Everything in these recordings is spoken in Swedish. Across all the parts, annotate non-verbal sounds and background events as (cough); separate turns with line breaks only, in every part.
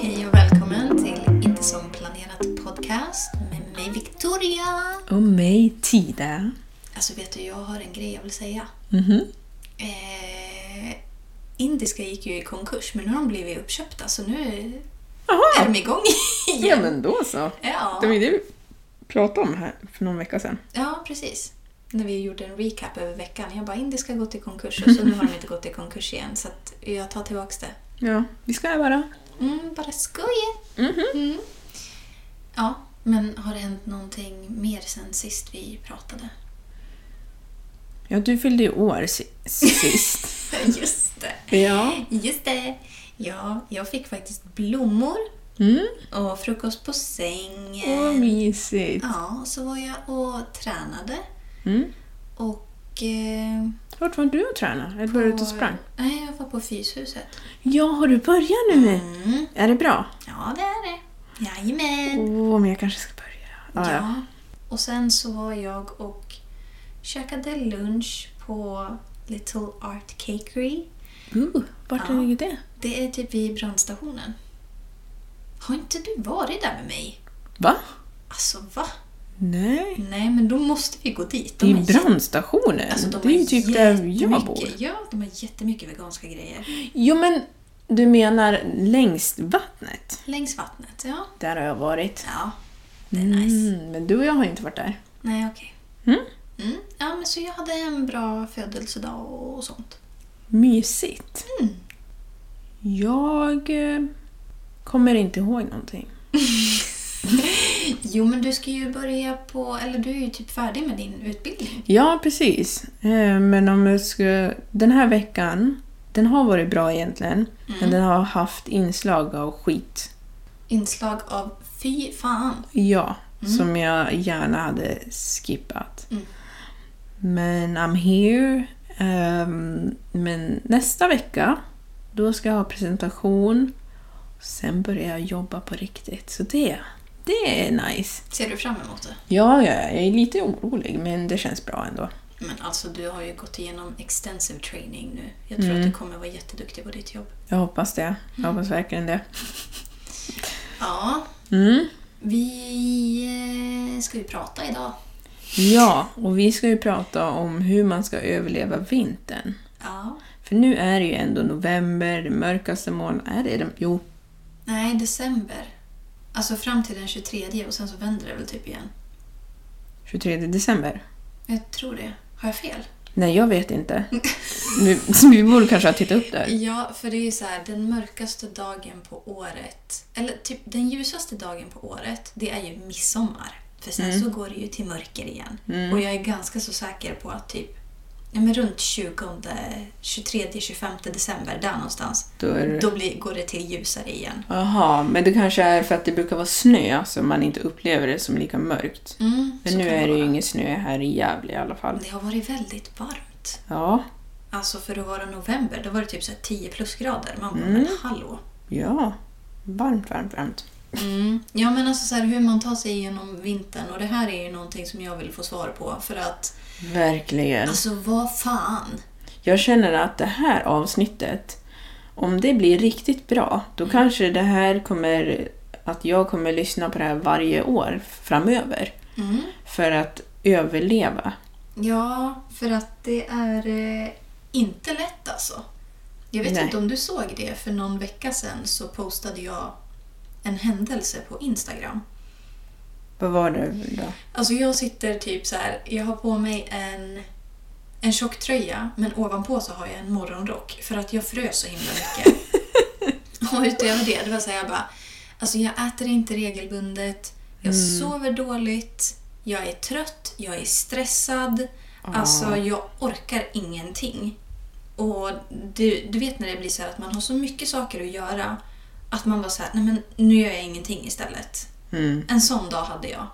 Hej och välkommen till Inte som planerat podcast med mig Victoria.
Och mig Tida.
Alltså vet du, jag har en grej jag vill säga.
Mhm.
Eh, Indiska gick ju i konkurs men nu har de blivit uppköpta så nu är
Jaha!
de igång (laughs)
Ja
igen.
men då så.
Ja,
Det var ju det vi pratade om här för någon vecka sedan.
ja precis. När vi gjorde en recap över veckan. Jag bara, Indiska har gått i konkurs och så nu har de inte gått i konkurs igen så att jag tar tillbaka det.
Ja, vi ska bara.
Mm, bara skoja. Mm. Ja, men har det hänt någonting mer sen sist vi pratade?
Ja, du fyllde ju år si- sist.
(laughs) Just det.
ja.
Just det. Ja, jag fick faktiskt blommor
(laughs) Mm.
och frukost på
Åh,
sängen.
mysigt.
Ja, och så var jag och tränade.
Mm.
Och... Eh,
Vart var du och tränade? Eller var du ute och
på-
sprang?
Nej, jag var på Fyshuset.
Ja, har du börjat nu?
Mm.
Är det bra?
Ja, det är det. Jajamän.
Åh, men jag kanske ska börja. Ja, ja.
Ja. Och sen så var jag och käkade lunch på Little Art Cakery.
Uh, vart
Ja.
ligger det?
Det är typ vid brandstationen. Har inte du varit där med mig?
Va?
Alltså va?
Nej.
Nej, men då måste vi gå dit.
Det är
har jätte-
brandstationen.
Alltså, de
det är
har
ju typ där jag
jättemycket-
bor.
Ja, de har jättemycket veganska grejer.
Jo, men du menar längst vattnet?
Längs vattnet, ja.
Där har jag varit.
Ja, det är nice.
Mm, men du och jag har inte varit där.
Nej, okej.
Mm.
Mm. Ja, men så jag hade en bra födelsedag och sånt.
Mysigt.
Mm.
Jag eh, kommer inte ihåg någonting.
Jo, men du ska ju börja på... Eller du är ju typ färdig med din utbildning.
Ja, precis. Eh, men om jag ska... Den här veckan, den har varit bra egentligen. Men den har haft inslag av skit.
Inslag av fy fan.
Ja, som jag gärna hade skippat.
Mm.
Men I'm here. Ehm, men nästa vecka, då ska jag ha presentation. Sen börjar jag jobba på riktigt, så det, det är nice.
Ser du fram emot det?
Ja, ja, jag är lite orolig, men det känns bra ändå.
Men alltså, du har ju gått igenom extensive training nu. Jag tror att du kommer vara jätteduktig på ditt jobb.
Jag hoppas det. Jag hoppas verkligen det.
Ja,
Mm.
vi eh, ska ju prata idag.
Ja, och vi ska ju prata om hur man ska överleva vintern.
Ja.
För nu är det ju ändå november, den mörkaste månaden. Är det den? Jo,
Nej, december. Alltså fram till den 23 och sen så vänder det väl typ igen.
23 december.
Jag tror det. Har jag fel?
Nej, jag vet inte. Nu, (laughs) vi borde kanske ha tittat upp där.
Ja, för det är ju så här, den mörkaste dagen på året, eller typ den ljusaste dagen på året, det är ju
Mm.
midsommar. För sen så går det ju till mörker igen. Och jag är ganska så säker på att typ ja, men runt 20, 23-25 december, där någonstans,
Då är det-
då blir, går det till ljusare igen.
Jaha, men det kanske är för att det brukar vara snö så man inte upplever det som lika mörkt.
Mm,
Men
så
nu
kan
är det ju
vara.
ingen snö här i Gävle i alla fall.
Det har varit väldigt varmt.
Ja,
Alltså för att vara november, då var det typ så här 10 plusgrader. Man bara,
Mm.
men hallå.
ja. Varmt, varmt, varmt.
Ja men alltså så här, hur man tar sig igenom vintern och det här är ju någonting som jag vill få svar på för att
Verkligen.
alltså vad fan.
Jag känner att det här avsnittet, om det blir riktigt bra,
Mm.
då kanske det här kommer att jag kommer lyssna på det här varje år framöver.
Mm.
För att överleva.
Ja, för att det är eh, inte lätt alltså. Jag vet
Nej.
inte om du såg det, för någon vecka sedan så postade jag en händelse på Instagram.
Vad var det då?
Alltså jag sitter typ så här, jag har på mig en, en tjock tröja men ovanpå så har jag en morgonrock för att jag frös så himla mycket. och utöver det, det var så här, jag bara, alltså jag äter inte regelbundet, jag sover dåligt, jag är trött, jag är stressad, alltså jag orkar ingenting. Och du, du vet när det blir så här att man har så mycket saker att göra att man bara så här, nej men nu gör jag ingenting istället. En sån dag hade jag.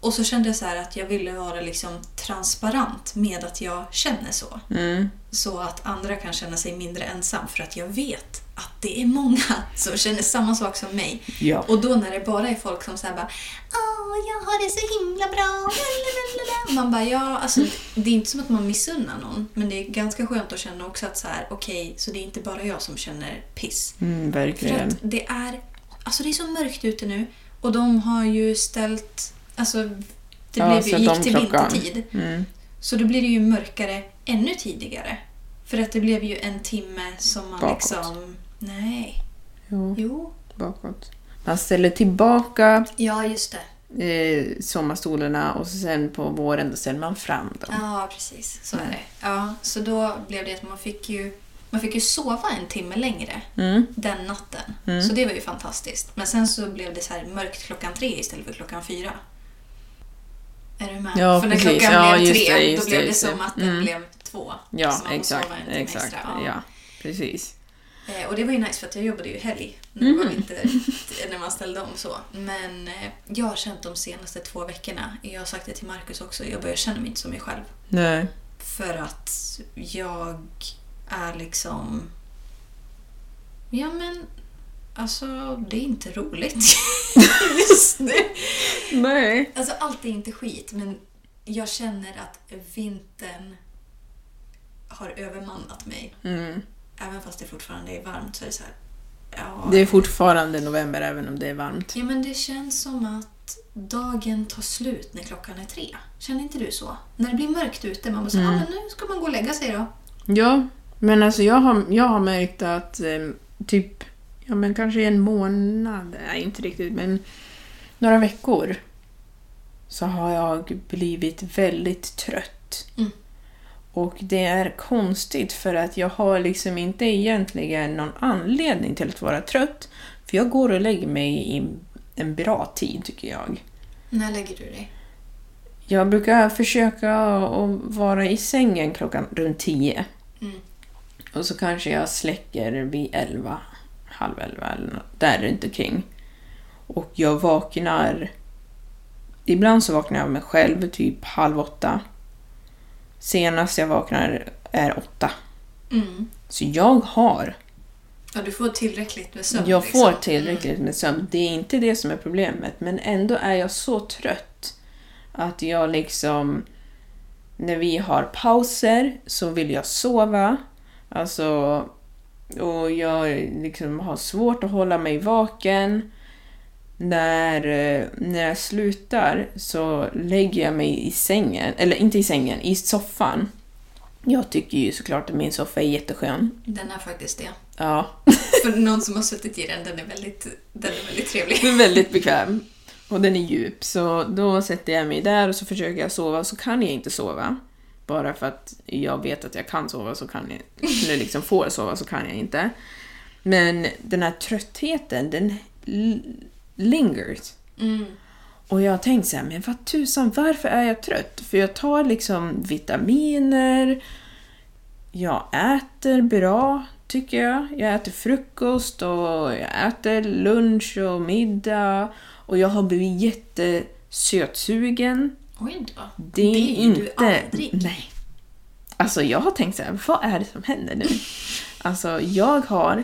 Och så kände jag så här att jag ville vara liksom transparent med att jag känner så. Så att andra kan känna sig mindre ensam för att jag vet att det är många (laughs) som känner samma sak som mig.
Ja.
Och då när det bara är folk som säger bara Åh, jag har det så himla bra. lalalala." Man bara ja, alltså det är inte som att man missunnar någon. Men det är ganska skönt att känna också att så här, okej, så det är inte bara jag som känner piss.
Mm,
För
verkligen.
att det är, alltså det är så mörkt ute nu och de har ju ställt, alltså det
Ja,
blev ju,
ställt om
gick till
klockan.
vintertid.
Mm.
Så då blir det ju mörkare ännu tidigare. För att det blev ju en timme som man
Bakåt.
liksom... Nej.
Jo,
Jo.
bakåt. Man ställer tillbaka
Ja, just det.
eh, sommarstolarna och så sen på våren då ställer man fram dem.
Ja, precis. Så är
Mm.
det. Ja, så då blev det att man fick ju, man fick ju sova en timme längre
Mm.
den natten. Så det var ju fantastiskt. Men sen så blev det så här mörkt klockan tre istället för klockan fyra. Är du med?
Ja,
för när
precis.
klockan
Ja,
blev
just
tre,
det, just
då
det,
blev det
just det.
som att den
Mm.
blev två.
Ja,
så man får
exakt.
sova en timme
exakt.
extra.
Ja, precis.
Eh, Och det var ju nice för att jag jobbade ju helg när, det var
Mm.
vinter, (laughs) när man ställde om så. Men eh, jag har känt de senaste två veckorna, jag har sagt det till Markus också, jag börjar känna mig inte som mig själv.
Nej.
För att jag är liksom... Ja men, alltså det är inte roligt (laughs) just nu.
Nej.
Alltså allt är inte skit men jag känner att vintern har övermannat mig.
Mm.
Även fast det fortfarande är varmt så är det så här, ja,
Det är fortfarande november även om det är varmt.
Ja, men det känns som att dagen tar slut när klockan är tre. Känner inte du så? När det blir mörkt ute, man bara säger,
Mm.
ah, men nu ska man gå och lägga sig då.
Ja, men alltså jag har, jag har märkt att eh, typ, ja men kanske i en månad, nej inte riktigt, men några veckor så har jag blivit väldigt trött.
Mm.
Och det är konstigt för att jag har liksom inte egentligen någon anledning till att vara trött. För jag går och lägger mig i en bra tid tycker jag.
När lägger du dig?
Jag brukar försöka att vara i sängen klockan runt tio.
Mm.
Och så kanske jag släcker vid elva, halv elva eller nå- där runt omkring. Och jag vaknar... Ibland så vaknar jag av mig själv typ halv åtta. Senast jag vaknar är åtta.
Mm.
Så jag har
Ja, du får tillräckligt med sömn.
jag får
liksom.
tillräckligt med sömn. Det är inte det som är problemet. Men ändå är jag så trött att jag liksom... När vi har pauser så vill jag sova. Alltså... Och jag liksom har svårt att hålla mig vaken. När, eh, när jag slutar så lägger jag mig i sängen, eller inte i sängen, i soffan. Jag tycker ju såklart att min soffa är jätteskön.
Den är faktiskt det.
Ja,
För någon som har suttit i den, den är väldigt, den är väldigt trevlig.
Den är väldigt bekväm. Och den är djup, så då sätter jag mig där och så försöker jag sova, så kan jag inte sova. Bara för att jag vet att jag kan sova så kan jag eller liksom får jag sova så kan jag inte. Men den här tröttheten, den l- lingers. Och jag tänkte så här, men vad tusan, varför är jag trött? För jag tar liksom vitaminer, jag äter bra, tycker jag. Jag äter frukost och jag äter lunch och middag. Och jag har blivit jättesötsugen.
Oj då.
Det är, inte...
du aldrig.
Nej. Alltså jag har tänkt så här, vad är det som händer nu? Alltså jag har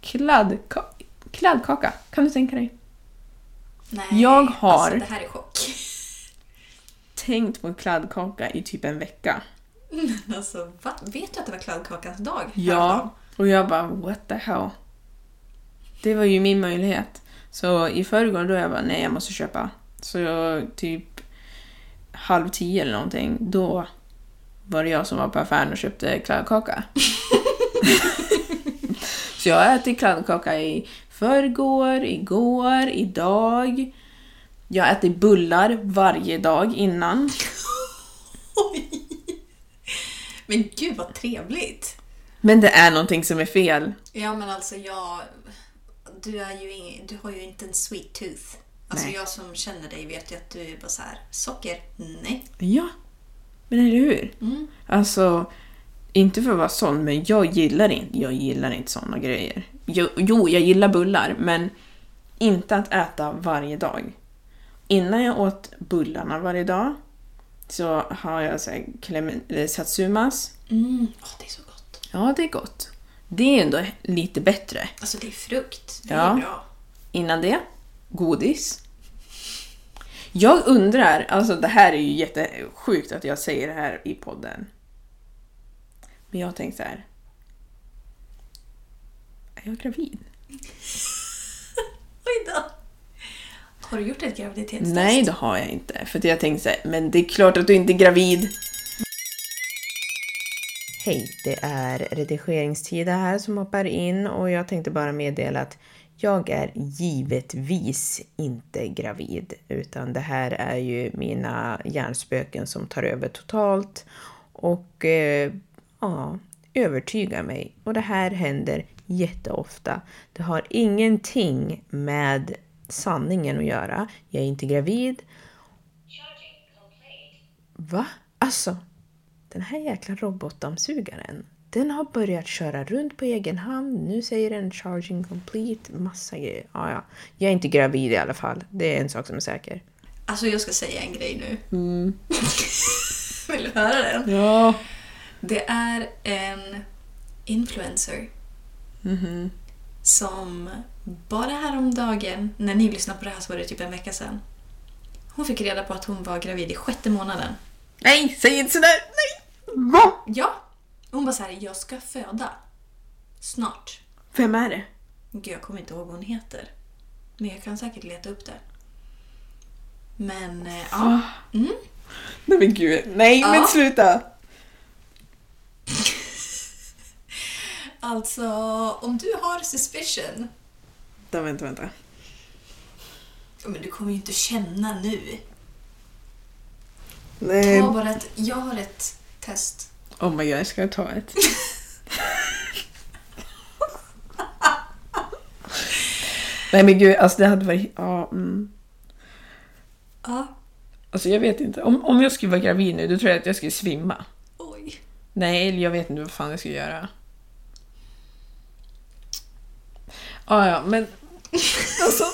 kladdka... kladdkaka, kan du tänka dig?
Nej,
Jag har-
Alltså, det här är chock. (laughs)
Tänkt på kladdkaka i typ en vecka.
Men alltså, va? Vet du att det var kladdkakans dag? häromdagen?
Ja, och jag bara what the hell. Det var ju min möjlighet. Så i förrgår då jag bara nej jag måste köpa. Så jag, typ halv tio eller någonting, då var det jag som var på affären och köpte kladdkaka. Så jag har ätit kladdkaka i förrgår, igår, idag. Jag har ätit bullar varje dag innan.
Oj! Men gud vad trevligt!
Men det är någonting som är fel.
Ja men alltså jag... Du, är ju ing, du har ju inte en sweet tooth. Alltså
Nej.
jag som känner dig vet ju att du är bara så här, socker? Nej.
Ja, men eller hur? Alltså, inte för att vara sån, men jag gillar inte, jag gillar inte såna grejer. Jo, jo, jag gillar bullar, men inte att äta varje dag. Innan jag åt bullarna varje dag så har jag så här, clemen- eller satsumas.
Mm. Åh, det är så gott.
Ja, det är gott. Det är ändå lite bättre.
Alltså det är frukt. Det
Ja.
är bra.
Innan det, godis. Jag undrar, alltså det här är ju jättesjukt att jag säger det här i podden. Men jag tänkte så här. Är jag gravid?
Oj då! Har du gjort ett graviditetstest?
Nej, det har jag inte. För att jag tänkte så här, men det är klart att du inte är gravid. Hej, det är redigeringstida här som hoppar in och jag tänkte bara meddela att jag är givetvis inte gravid utan det här är ju mina hjärnspöken som tar över totalt och eh, ja, övertygar mig. Och det här händer jätteofta. Det har ingenting med sanningen att göra. Jag är inte gravid. Va? Alltså, den här jäkla robotdammsugaren. Den har börjat köra runt på egen hand. Nu säger den charging complete, massa grejer. Ja, ja. Jag är inte gravid i alla fall. Det är en sak som är säker.
Alltså jag ska säga en grej nu. (laughs) Vill du höra den?
Mm. Ja.
Det är en influencer
Mm-hmm.
som bara häromdagen, när ni lyssnade på det här så var det typ en vecka sedan, hon fick reda på att hon var gravid i sjätte månaden.
Nej, säg inte sådär! Nej! Va?
Ja! Hon bara så här, jag ska föda. Snart.
Vem är det?
Gud, jag kommer inte ihåg vad hon heter. Men jag kan säkert leta upp det. Men eh, ja,
Ah. Nej men gud. Nej men sluta!
(laughs) alltså om du har suspicion.
Vänta, vänta, vänta.
Men du kommer ju inte känna nu.
Nej.
Ta bara ett, jag har ett test.
Oh my god, ska jag ta ett? Nej men gud, alltså det hade varit... Ja, mm.
Ja.
Alltså jag vet inte. Om, om jag skulle vara gravid nu, då tror jag att jag skulle svimma.
Oj.
Nej, eller jag vet inte vad fan jag skulle göra. Ja, ja, men... Alltså,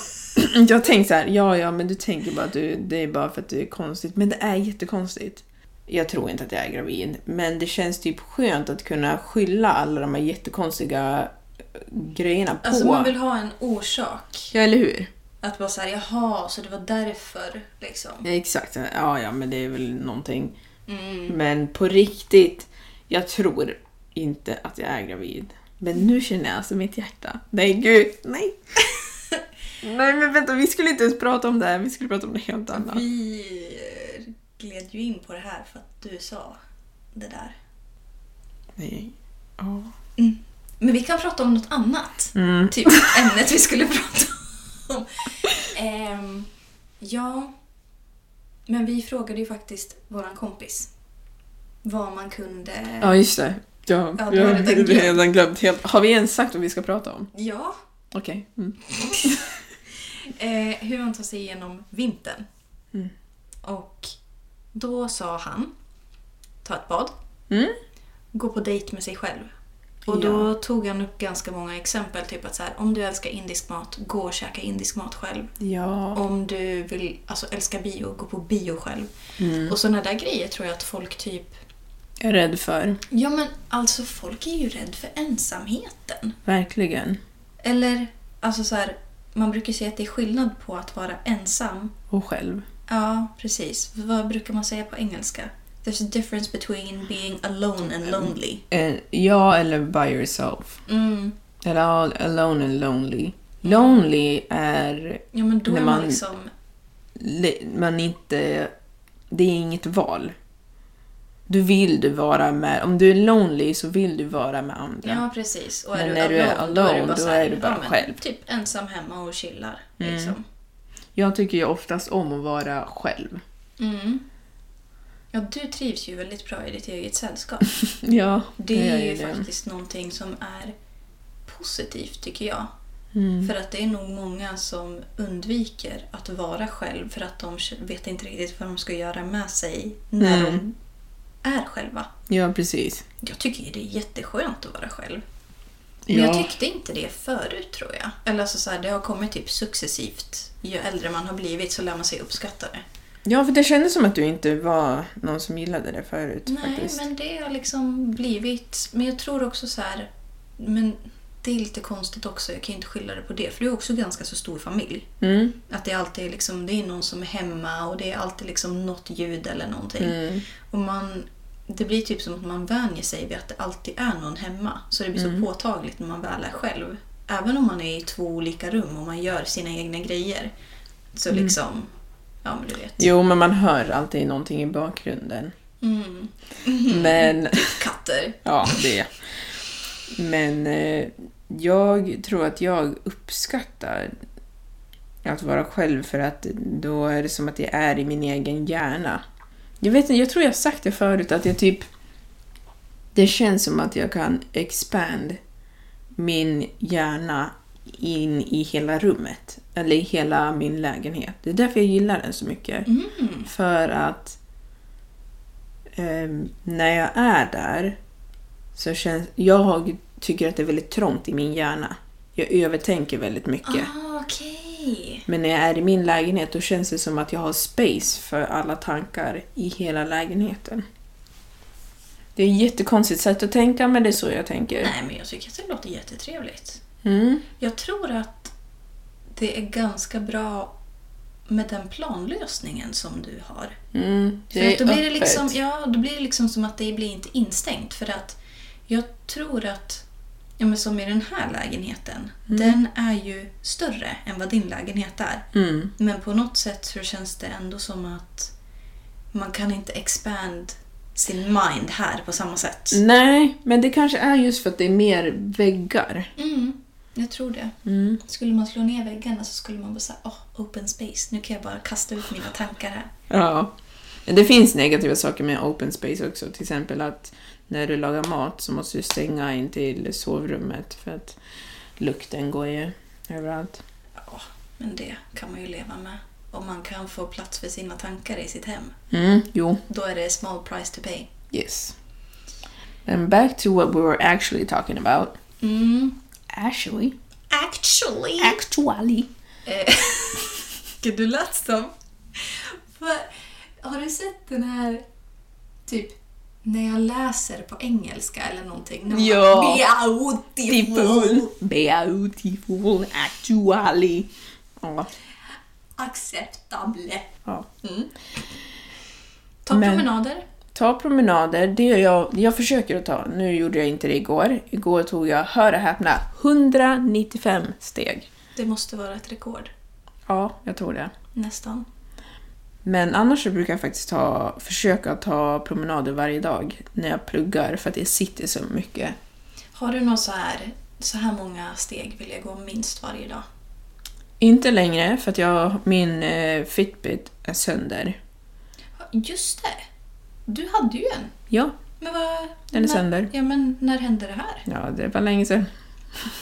(clears throat) jag tänkte så här, ja, ja, men du tänker bara att du, det är bara för att du är konstigt. Men det är jättekonstigt. Jag tror inte att jag är gravid, men det känns typ skönt att kunna skylla alla de här jättekonstiga eh, grejerna på.
Alltså man vill ha en orsak.
Ja, eller hur?
Att vara såhär, jaha, så det var därför liksom.
Ja, exakt. Ja, ja, men det är väl någonting. Men på riktigt, jag tror inte att jag är gravid. Men nu känner jag alltså mitt hjärta. Nej, gud, nej. (laughs) nej, men vänta, vi skulle inte ens prata om det här. Vi skulle prata om något helt annat.
Vi eh, gled ju in på det här för att du sa det där. Mm.
Nej. Ja. Mm.
Men vi kan prata om något annat. Typ ämnet vi skulle (laughs) prata om. Ehm, ja, men vi frågade ju faktiskt våran kompis vad man kunde...
ja, just det. Ja,
Ja,
ja
det
jag
har du
har
glömt.
(laughs) redan glömt helt. Har vi ens sagt vad vi ska prata om?
Ja,
Okej. Mm.
eh, hur man tar sig igenom vintern.
Mm.
Och då sa han, ta ett bad,
Mm.
gå på dejt med sig själv. Och då tog han upp ganska många exempel, typ att så här, om du älskar indisk mat, gå och käka indisk mat själv.
Ja.
Om du vill, alltså älskar bio, gå på bio själv.
Mm.
Och sådana där grejer tror jag att folk typ...
Jag är rädd för.
Ja men alltså folk är ju rädd för ensamheten.
Verkligen.
Eller, alltså så här, man brukar säga att det är skillnad på att vara ensam
Och själv.
Ja, precis. Vad brukar man säga på engelska? There's a difference between being alone and lonely.
Eh, ja, eller by yourself.
Mm.
Eller all alone and lonely. Lonely är
Ja, men då
När
är man
man-
liksom...
li- man inte... Det är inget val. Du vill du vara med... Om du är lonely så vill du vara med andra.
Ja, precis. Och är
Men
du
när du är alone, då
så
är
här,
du bara
ja, men
själv.
Typ ensam hemma och chillar. Liksom.
Jag tycker ju oftast om att vara själv.
Mm. Ja, du trivs ju väldigt bra i ditt eget sällskap.
Ja,
Det
jag
är ju
gör det.
faktiskt någonting som är positivt, tycker jag.
Mm.
För att det är nog många som undviker att vara själv för att de vet inte riktigt vad de ska göra med sig när
Mm.
de är själva.
Ja, precis.
Jag tycker ju det är jätteskönt att vara själv. Men
Ja.
jag tyckte inte det förut tror jag. Eller alltså så här, det har kommit typ successivt. Ju äldre man har blivit så lär man sig uppskatta det.
ja, för det kändes som att du inte var någon som gillade det förut.
Nej,
faktiskt.
men det har liksom blivit... Men jag tror också så här... Men det är lite konstigt också, jag kan ju inte skylla det på det. För du är också ganska så stor familj.
Mm.
Att det alltid är liksom, det är någon som är hemma och det är alltid liksom något ljud eller någonting.
Mm.
Och man, det blir typ som att man vänjer sig vid att det alltid är någon hemma. Så det blir
Mm.
så påtagligt när man väl är själv. Även om man är i två olika rum och man gör sina egna grejer. Så
Mm.
liksom, ja men du vet.
Jo, men man hör alltid någonting i bakgrunden.
Mm.
Men,
Katter.
ja, det. Men eh, jag tror att jag uppskattar att vara själv för att då är det som att jag är i min egen hjärna. Jag vet inte, jag tror jag har sagt det förut att jag typ... Det känns som att jag kan expand min hjärna in i hela rummet. Eller i hela min lägenhet. Det är därför jag gillar den så mycket. För att ehm, när jag är där så känns... Jag tycker att det är väldigt trångt i min hjärna. Jag övertänker väldigt mycket.
Ah, okej.
Men när jag är i min lägenhet då känns det som att jag har space för alla tankar i hela lägenheten. Det är ett jättekonstigt sätt att tänka men det är så jag tänker.
Nej men jag tycker att det låter jättetrevligt.
Mm.
Jag tror att det är ganska bra med den planlösningen som du har.
Mm.
För att då blir det,
öppet.
liksom, ja, då blir det liksom som att det blir inte instängt. För att jag tror att, ja, men som i den här lägenheten, den är ju större än vad din lägenhet är.
Mm.
Men på något sätt så känns det ändå som att man kan inte expand sin mind här på samma sätt.
Nej, men det kanske är just för att det är mer väggar.
Mm, jag tror det. Skulle man slå ner väggarna så skulle man bara säga oh, open space, nu kan jag bara kasta ut mina tankar här.
Ja. Men Det finns negativa saker med open space också. Till exempel att när du lagar mat så måste du stänga in till sovrummet för att lukten går ju överallt.
Ja, men det kan man ju leva med. Om man kan få plats för sina tankar i sitt hem,
Mm, jo.
då är det small price to pay.
Yes. And back to what we were actually talking about.
Mm.
Actually?
Actually!
Actually.
(laughs) Eh, Gud, du lät som... Vad- Har du sett den här... Typ, när jag läser på engelska eller någonting. när man-
Ja.
Beautiful!
Beautiful. Actually. Ja.
Acceptable.
ja.
Ta
Men-
promenader.
Ta promenader, det gör jag. Jag försöker att ta. Nu gjorde jag inte det igår. Igår tog jag, hör och häpna, 195 steg.
Det måste vara ett rekord.
Ja, jag tror det.
Nästan.
Men annars så brukar jag faktiskt ta, försöka att ta promenader varje dag när jag pluggar för att jag sitter så mycket.
Har du någon så här, så här många steg vill jag gå minst varje dag?
Inte längre för att jag, min eh, Fitbit är sönder.
Just det! Du hade ju en.
Ja,
Men vad...
Den
när,
är sönder.
Ja, men när hände det här?
ja det var länge sedan.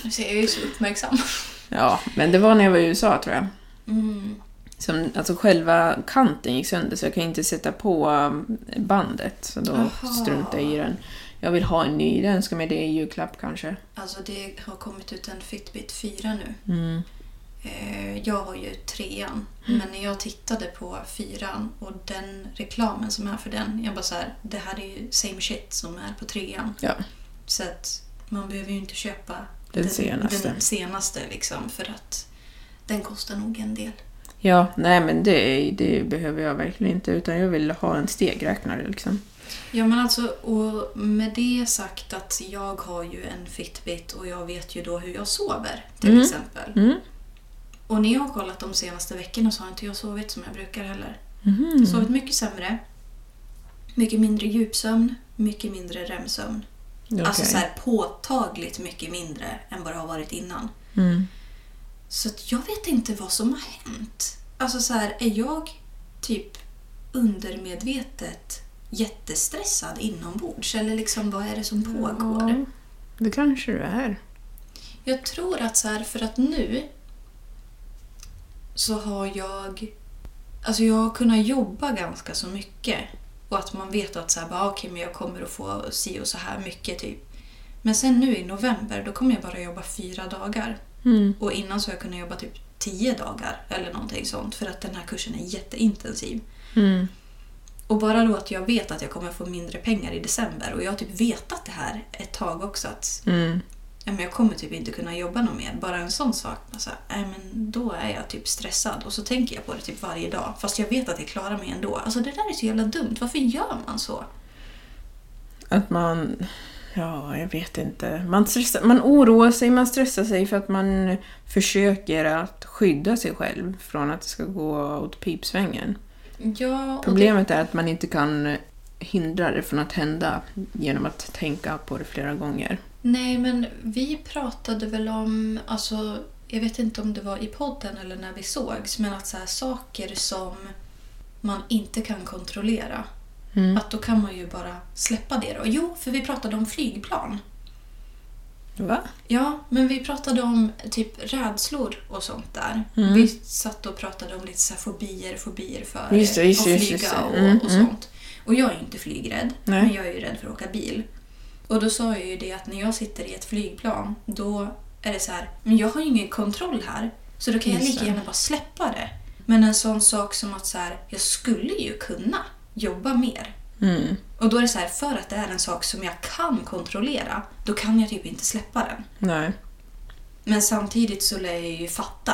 Nu ser jag ju så uppmärksam.
Ja, men det var när jag var i USA tror jag.
som, alltså själva kanten gick sönder så jag kan inte sätta på um, bandet. Så då
Aha.
struntar jag i den. Jag vill ha en ny, jag önskar mig det i julklapp kanske.
Alltså det har kommit ut en Fitbit 4 nu.
Mm.
Eh, Jag har ju trean, men när jag tittade på fyran och den reklamen som är för den, jag bara så här, det här är ju same shit som är på trean.
Ja.
Så att man behöver ju inte köpa
Den senaste.
den senaste liksom, för att den kostar nog en del.
Ja, nej men det, det behöver jag verkligen inte utan jag vill ha en stegräknare liksom.
Ja men alltså, och med det sagt att jag har ju en Fitbit och jag vet ju då hur jag sover till exempel. Och när jag har kollat de senaste veckorna så har inte jag sovit som jag brukar heller. Mm. Sovit mycket sämre. Mycket mindre djupsömn, mycket mindre REM-sömn. Alltså
Okej.
så här påtagligt mycket mindre än vad det har varit innan. Så att jag vet inte vad som har hänt. Alltså så här, är jag typ undermedvetet jättestressad inombords? Eller liksom vad är det som pågår?
Ja, det kanske det är.
Jag tror att så här, för att nu så har jag... Alltså jag har kunnat jobba ganska så mycket. Och att man vet att så här, bara, okej, men jag kommer att få si och så här mycket. typ. Men sen nu i november då kommer jag bara jobba fyra dagar. Och innan så har jag kunnat jobba typ tio dagar eller någonting sånt. För att den här kursen är jätteintensiv. Och bara då att jag vet att jag kommer få mindre pengar i december. Och jag har typ vetat det här ett tag också. Att ja, men jag kommer typ inte kunna jobba något mer. Bara en sån sak. Alltså, nej, men då är jag typ stressad och så tänker jag på det typ varje dag. Fast jag vet att jag klarar mig ändå. Alltså det där är så jävla dumt. Varför gör man så?
Att man... Ja, jag vet inte. Man, stressar, man oroar sig, man stressar sig för att man försöker att skydda sig själv från att det ska gå åt pipsvängen.
Ja, och
Problemet är att man inte kan hindra det från att hända genom att tänka på det flera gånger.
Det, nej, men vi pratade väl om, alltså jag vet inte om det var i podden eller när vi sågs, men att så här, saker som man inte kan kontrollera.
Mm.
Att då kan man ju bara släppa det då. Jo, för vi pratade om flygplan.
Va?
Ja, men vi pratade om typ rädslor och sånt där.
Mm.
Vi satt och pratade om lite så här fobier, fobier för
Just det, just
att
det,
flyga
just det, just det.
och,
Mm,
och
mm.
sånt. Och jag är ju inte flygrädd,
Nej.
men jag är ju rädd för att åka bil. Och då sa jag ju det att när jag sitter i ett flygplan, då är det så här, men jag har ju ingen kontroll här, så då kan jag
Just
lika
det.
gärna bara släppa det. Men en sån sak som att så här, jag skulle ju kunna jobba mer.
Mm.
Och då är det så här, för att det är en sak som jag kan kontrollera, då kan jag typ inte släppa den.
Nej.
Men samtidigt så lär jag ju fatta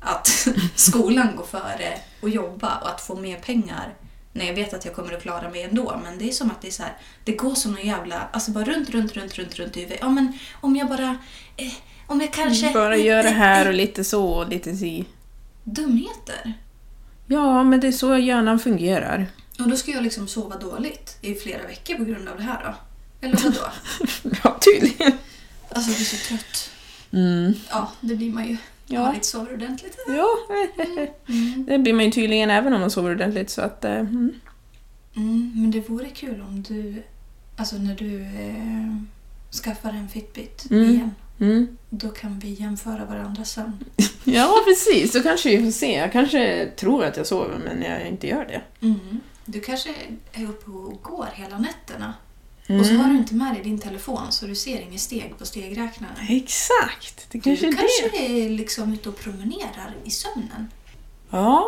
att (laughs) skolan går före och jobba och att få mer pengar när jag vet att jag kommer att klara mig ändå. Men det är som att det är så här, det går som någon jävla, alltså bara runt, runt, runt, runt, runt i huvudet. Ja men om jag bara, eh, om jag kanske...
Bara gör det här och lite så och lite si.
Dumheter.
Ja, men det är så hjärnan fungerar.
Och då ska jag liksom sova dåligt i flera veckor på grund av det här då? Eller
(laughs)
vadå?
(laughs) Ja, tydligen.
Alltså jag blir så trött. Ja, det blir man ju.
Mm. Ja.
Ja. Man inte sover ordentligt.
Ja, det blir man ju tydligen även om man sover ordentligt så att... eh, mm.
Mm, men det vore kul om du, alltså när du eh, skaffar en Fitbit
Mm.
igen,
Mm.
då kan vi jämföra varandra sen.
Ja, precis. Då kanske vi får se. Jag kanske tror att jag sover men jag inte gör det.
Mm. Du kanske är uppe och går hela nätterna
Mm.
och så har du inte med dig din telefon så du ser inga steg på stegräknaren.
Exakt! Det kanske
du
är
kanske
det.
är liksom ute och promenerar i sömnen.
Ja.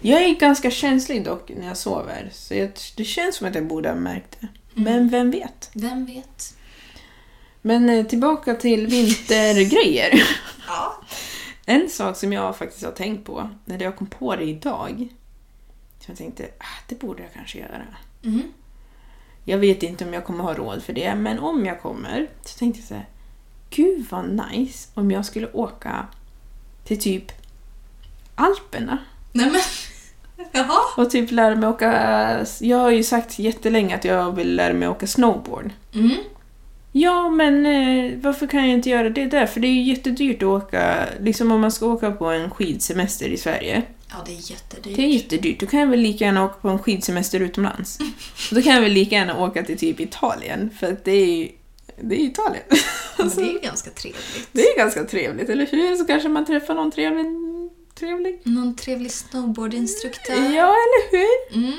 Jag är ganska känslig dock när jag sover så jag, det känns som att jag borde ha märkt det. Men vem vet?
Vem vet?
Men eh, tillbaka till vintergrejer.
Ja.
En sak som jag faktiskt har tänkt på, när jag kom på det idag, så jag tänkte ah, det borde jag kanske göra.
Mm.
Jag vet inte om jag kommer ha råd för det, men om jag kommer så tänkte jag så här, gud vad nice om jag skulle åka till typ Alperna
Nej men, (laughs) jaha.
och typ lära mig åka... Jag har ju sagt jättelänge att jag vill lära mig åka snowboard.
Mm.
Ja, men eh, varför kan jag inte göra det där? För det är ju jättedyrt att åka, liksom om man ska åka på en skidsemester i Sverige.
Ja, det är jättedyrt.
Det är jättedyrt. Då kan jag väl lika gärna åka på en
(laughs)
skidsemester utomlands. Och då kan jag väl lika gärna åka till typ Italien, för att det är ju det är Italien.
(laughs)
Men det är ju ganska trevligt.
Det är ganska trevligt, eller hur? Så kanske man träffar någon trevlig
Trevlig.
Någon trevlig snowboardinstruktör.
Ja, eller hur?
Mm.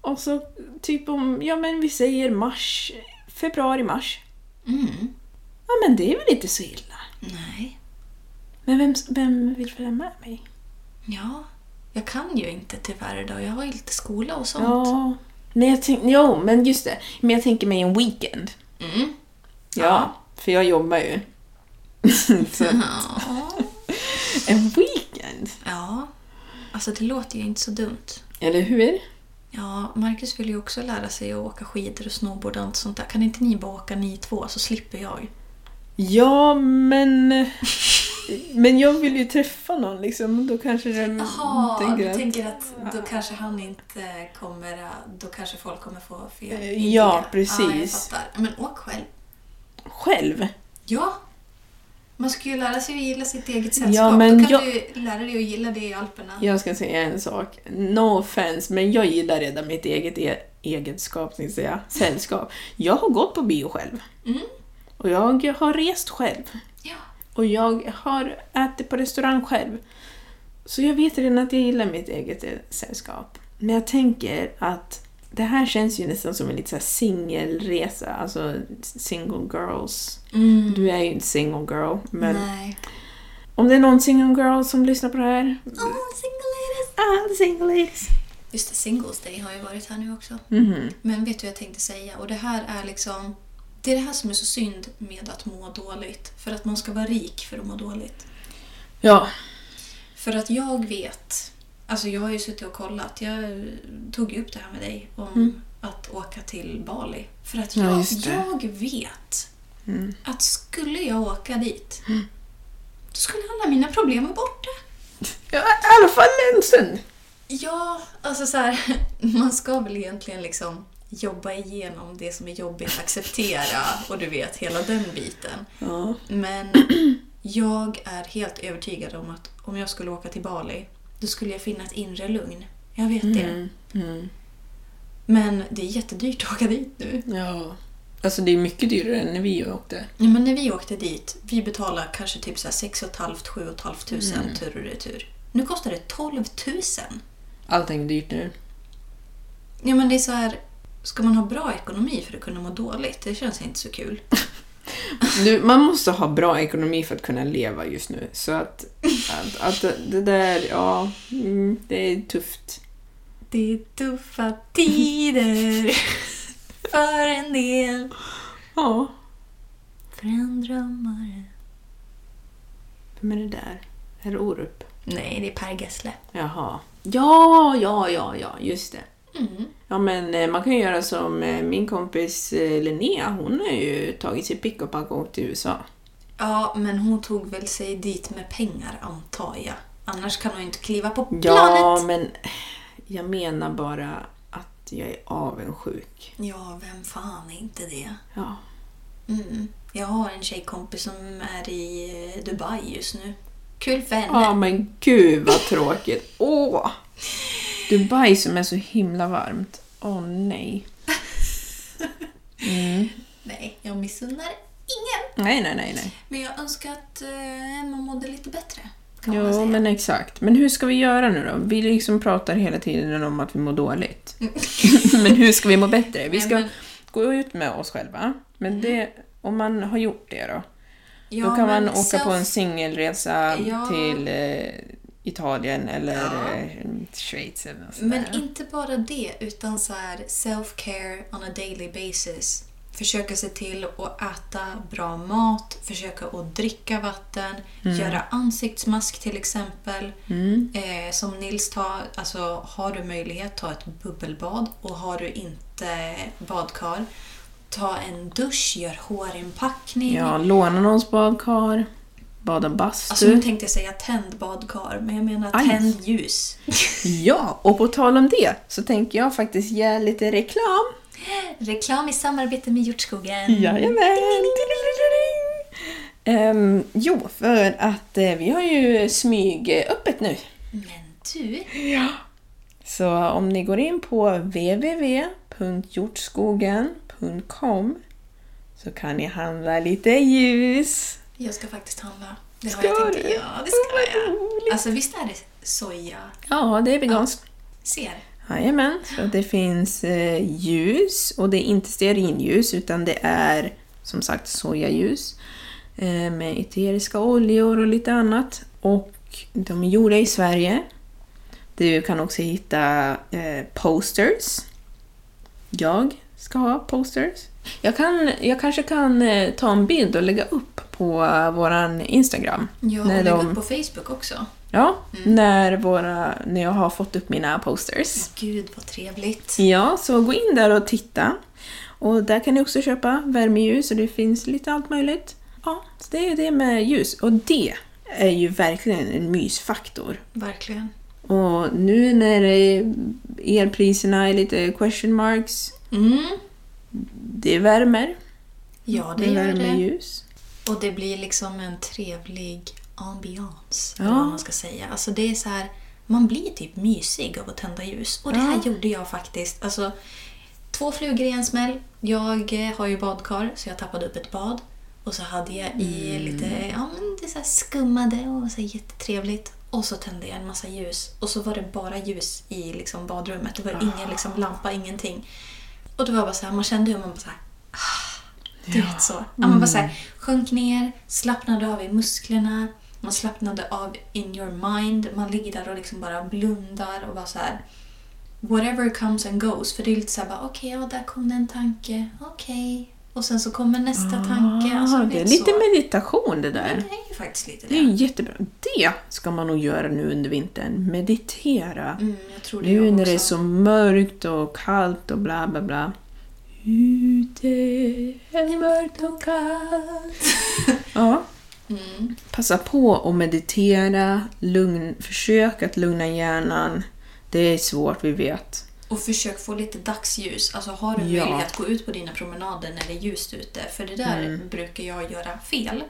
Och så typ om, ja men vi säger mars, februari, mars.
Mm.
Ja men det är väl inte så illa.
Nej.
Men vem, vem vill följa med mig?
Ja. Jag kan ju inte tyvärr idag. Jag har ju lite skola och sånt.
Ja. Nej, jag tänk, jo, men just det. Men jag tänker mig en weekend.
Mm.
Ja, för jag jobbar ju. så,
Ja.
en weekend?
ja. Alltså det låter ju inte så dumt.
Eller hur?
Ja, Marcus vill ju också lära sig att åka skidor och snowboard och allt sånt där. Kan inte ni bara åka ni två så slipper jag?
Ja, men... Men jag vill ju träffa någon liksom, då kanske den
Jaha,
tänker
du
att...
tänker att då kanske han inte kommer... Då kanske folk kommer få fel
Eh,
idé.
ja, precis.
Ja, jag fattar. Men åk själv.
Själv?
Ja. Man ska ju lära sig att gilla sitt eget sällskap.
Ja, men
då kan
jag-
du lära dig att gilla det i Alperna.
Jag ska säga en sak. No offense, men jag gillar redan mitt eget e- egenskap, tänkte jag. Sällskap. Jag har gått på bio själv.
Mm.
Och jag har rest själv.
Ja.
Och jag har ätit på restaurang själv. Så jag vet redan att jag gillar mitt eget sällskap. Men jag tänker att det här känns ju nästan som en lite så här singelresa, alltså single girls.
Mm.
Du är ju inte single girl, men
Nej.
om det är någon single girl som lyssnar på det här,
Åh, single ladies!
ah, single ladies!
Just det, Singles Day har ju varit här nu också.
Mhm.
Men vet du vad jag tänkte säga? Och det här är liksom... Det är det här som är så synd med att må dåligt. För att man ska vara rik för att må dåligt.
Ja.
För att jag vet... Alltså jag har ju suttit och kollat. Jag tog ju upp det här med dig om att åka till Bali. För att
Mm. Ja,
jag,
just det. Mm.
jag vet att skulle jag åka dit då skulle alla mina problem vara borta.
ja. I alla fall en stund!
Ja, alltså så här, (laughs) man ska väl egentligen liksom jobba igenom det som är jobbigt, acceptera och du vet hela den biten.
Ja.
Men (clears throat) jag är helt övertygad om att om jag skulle åka till Bali då skulle jag finna ett inre lugn. Jag vet det.
Mm.
Men det är jättedyrt att åka dit nu.
ja. Alltså det är mycket dyrare än när vi åkte.
Ja, men när vi åkte dit, vi betalade kanske typ så här 6 500-7 500 tur och retur. Nu kostar det 12 000.
Allting är dyrt nu.
Ja men det är så här, ska man ha bra ekonomi för att kunna må dåligt? Det känns inte så kul.
Du, man måste ha bra ekonomi för att kunna leva just nu. Så att, att, att det- det där, ja, mm, det är tufft.
Det är tuffa tider för en del,
Ja.
för en drömmare.
Vem är det där? Är det Orup?
Nej, det är Per Gessle.
Jaha. Ja, ja, ja, ja, just det. Ja, men eh, man kan ju göra som eh, min kompis eh, Linnea. Hon har ju tagit sitt pick och pack och åkt till USA.
Ja, men hon tog väl sig dit med pengar antar jag. Annars kan hon ju inte kliva på planet.
Ja, men jag menar bara att jag är avundsjuk.
Ja, vem fan är inte det?
Ja.
Mm. Jag har en tjejkompis som är i eh, Dubai just nu. Kul för henne.
Ja men gud vad tråkigt. Åh! Dubai som är så himla varmt. Åh nej.
Nej, jag missunnar ingen.
Nej, nej, nej. nej.
Men jag önskar att eh, Emma mådde lite bättre. Kan man
Jo,
säga.
men exakt. Men hur ska vi göra nu då? Vi liksom pratar hela tiden om att vi mår dåligt. men hur ska vi må bättre? Vi
Nej,
ska
men-
gå ut med oss själva. Men det, om man har gjort det då?
(laughs) Ja,
då kan
men
man åka på en
self-
singelresa
Ja.
till eh, Italien eller
Ja.
eh, Schweiz eller något sånt
Men
där.
inte bara det, utan så här self-care on a daily basis. Försöka se till att äta bra mat, försöka att dricka vatten,
Mm.
göra ansiktsmask till exempel. Eh, som Nils tar, alltså har du möjlighet, ta ett bubbelbad och har du inte badkar, ta en dusch, gör hårinpackning.
Ja, låna någons badkar, bada bastu.
Alltså nu tänkte jag säga tänd badkar, men jag menar
Aj.
tänd
(laughs)
ljus.
Ja, och på tal om det så tänker jag faktiskt ge lite reklam.
Reklam i samarbete med Hjortskogen.
Jajamän! Um, jo, för att eh, vi har ju smyg öppet nu.
Men du,
Så om ni går in på www.hjortskogen.com så kan ni handla lite ljus.
jag ska faktiskt handla. Det har
Ska
jag tänkt.
du?
Ja, det
Åh, vad
ska jag.
roligt.
Alltså visst är det soja?
Ja, det är veganskt.
Ser.
Jajamän, så det finns eh, ljus och det är inte stearinljus utan det är som sagt sojaljus eh, med eteriska oljor och lite annat. Och de är gjorda i Sverige. Du kan också hitta eh, posters. Jag ska ha posters. Jag, kan, jag kanske kan eh, ta en bild och lägga upp på eh, våran Instagram.
Ja, och lägg upp på Mm. Facebook också.
Ja, när, våra, när jag har fått upp mina posters.
Gud vad trevligt.
Ja, så gå in där och titta. Och där kan ni också köpa värmeljus och det finns lite allt möjligt. Ja, så det är det med ljus. Och det är ju verkligen en mysfaktor.
Verkligen.
Och nu när eh, elpriserna är lite question marks,
Mm.
det värmer.
Ja, det
Det
gör
värmer
det.
ljus.
Och det blir liksom en trevlig ambiance,
Ja.
eller vad man ska säga. Alltså det är så här, man blir typ mysig av att tända ljus. Och det här gjorde jag faktiskt. Alltså, två flugor i en smäll. Jag eh, har ju badkar, så jag tappade upp ett bad. Och så hade jag i lite ja, men det så här skummade och så här jättetrevligt. Och så tände jag en massa ljus. Och så var det bara ljus i liksom badrummet. Det var ingen liksom lampa, ingenting. Och det var bara så här, man kände hur man bara så här, du vet så. Ja, man bara så
Mm.
här, sjönk ner, slappnade av i musklerna, man slappnade av in your mind. Man ligger där och liksom bara blundar och bara så här. Whatever comes and goes. För det är lite så här bara, okej, ja, där kom det en tanke, okej. Och sen så kommer nästa tanke. Alltså,
Ah,
du
det är
vet
lite
så.
meditation det
Ja,
där.
Det är ju faktiskt lite
Det är ju
det.
jättebra. Det ska man nog göra nu under vintern. Meditera.
Mm, jag tror det
Nu
jag
när det är
också.
så mörkt och kallt och bla bla bla. Ute är mörkt och kallt. Ja.
Mm.
Passa på att meditera, lugn, försök att lugna hjärnan. Det är svårt, vi vet.
(laughs) Och försök få lite dagsljus. Alltså har du
Ja.
möjlighet att gå ut på dina promenader när det är ljust ute. För det där
Mm.
brukar jag göra fel.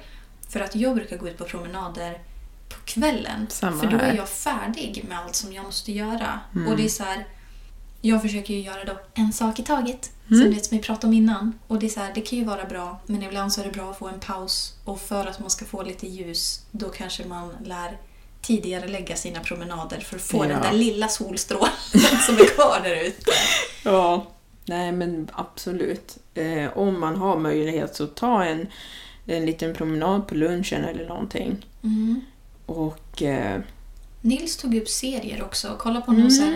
För att jag brukar gå ut på promenader på kvällen.
Samma
för då är
här. Mm.
jag färdig med allt som jag måste göra. Och det är så här, jag försöker ju göra då en sak i taget.
Mm.
Som, det, som vi pratade om innan. Och det, är så här, det kan ju vara bra, men ibland så är det bra att få en paus. Och för att man ska få lite ljus, då kanske man lär tidigare lägga sina promenader för att få
Ja.
den där lilla solstrålen (laughs) som är kvar där ute.
Ja. Nej men absolut. Eh, om man har möjlighet så ta en, en liten promenad på lunchen eller någonting. Och... Eh,
Nils tog upp serier också. Kolla på någon så
Mm.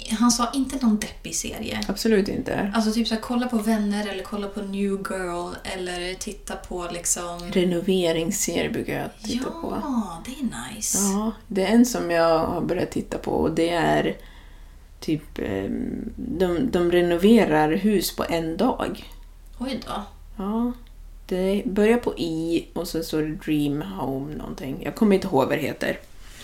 här, Han sa inte någon deppig serie.
absolut inte.
Alltså typ så här, kolla på Vänner eller kolla på New Girl eller titta på liksom...
Renoveringsserier brukar jag titta på.
Ja, det är nice.
Ja, det är en som jag har börjat titta på och det är typ... eh, De, de renoverar hus på en dag.
Oj då.
Ja. Det börjar på I och så står det Dream Home någonting. Jag kommer inte ihåg vad det heter.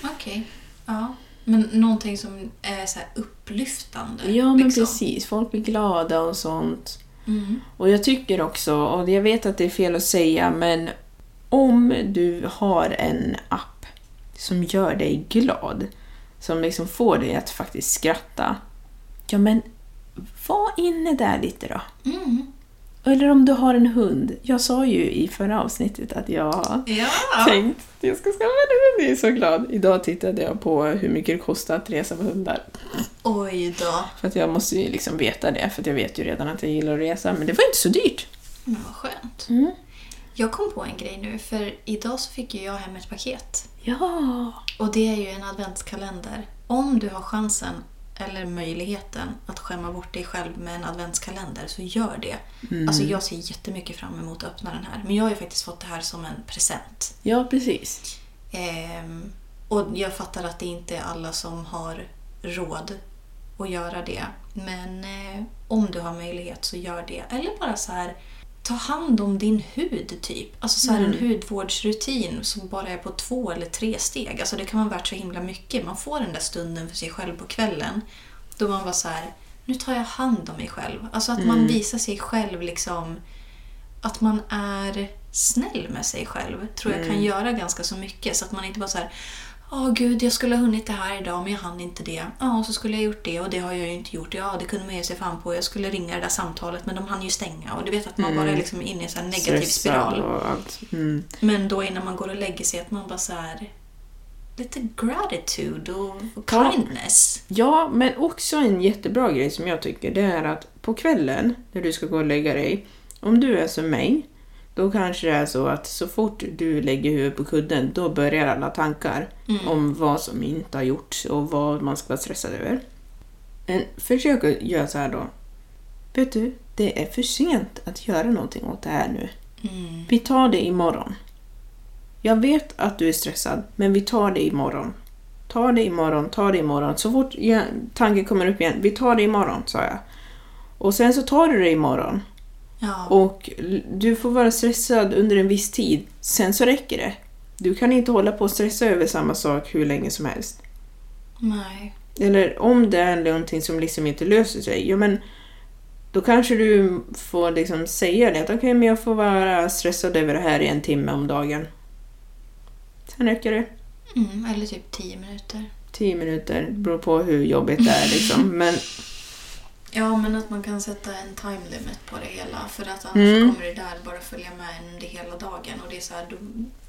Okej. Ja. Men någonting som är så här upplyftande.
Ja, men
liksom.
precis. Folk blir glada och sånt.
Mm.
Och jag tycker också, och jag vet att det är fel att säga, men om du har en app som gör dig glad, som liksom får dig att faktiskt skratta, ja men var inne där lite då.
Mm.
Eller om du har en hund. Jag sa ju i förra avsnittet att jag har
Ja.
tänkt att jag ska skaffa en hund. Jag är så glad. Idag tittade jag på hur mycket det kostar att resa med hundar.
Oj då.
För att jag måste ju liksom veta det, för att jag vet ju redan att jag gillar att resa, men det var inte så dyrt.
Men vad skönt.
Mm.
Jag kom på en grej nu, för idag så fick ju jag hem ett paket.
Ja!
Och det är ju en adventskalender. Om du har chansen eller möjligheten att skämma bort dig själv med en adventskalender så gör det.
Mm.
Alltså jag ser jättemycket fram emot att öppna den här. Men jag har ju faktiskt fått det här som en present.
Ja, precis.
Ehm, och jag fattar att det inte är alla som har råd att göra det. Men eh, om du har möjlighet så gör det. Eller bara så här, ta hand om din hud typ. Alltså så här en hudvårdsrutin som bara är på två eller tre steg. Alltså det kan vara värt så himla mycket. Man får den där stunden för sig själv på kvällen. Då man bara så här, nu tar jag hand om mig själv. Alltså att
Mm.
man visar sig själv liksom att man
Mm.
är snäll med sig själv tror jag kan göra ganska så mycket. Så att man inte bara så här, Åh gud, jag skulle ha hunnit det här idag men jag hann inte det. Ja, och så skulle jag gjort det och det har jag ju inte gjort. Ja, det kunde man ge sig fan på. Jag skulle ringa det där samtalet men de hann ju stänga. Och du vet att man bara är liksom inne i en sån här negativ
Mm. Stressad
spiral.
och allt. Mm.
Men då innan man går och lägger sig att man bara så här lite gratitude och, och
Ja.
kindness.
Ja, men också en jättebra grej som jag tycker det är att på kvällen när du ska gå och lägga dig, om du är som mig, då kanske det är så att så fort du lägger huvudet på kudden då börjar alla tankar
Mm.
om vad som inte har gjorts och vad man ska vara stressad över. Men försök att göra så här då. Vet du, det är för sent att göra någonting åt det här nu.
Mm.
Vi tar det imorgon. Jag vet att du är stressad, men vi tar det imorgon. Ta det imorgon, ta det imorgon. Så fort jag, tanken kommer upp igen, vi tar det imorgon, sa jag. Och sen så tar du det imorgon.
Ja.
Och l- du får vara stressad under en viss tid, sen så räcker det. Du kan inte hålla på och stressa över samma sak hur länge som helst.
Nej.
Eller om det är någonting som liksom inte löser sig, ja men då kanske du får liksom säga det att okej, men jag får vara stressad över det här i en timme om dagen. Sen räcker det.
Mm, eller typ 10 minuter.
Tio minuter, beror på hur jobbigt det är liksom. Men
Ja, men att man kan sätta en time limit på det hela. För att annars kommer det där bara följa med en det hela dagen. Och det är så här, då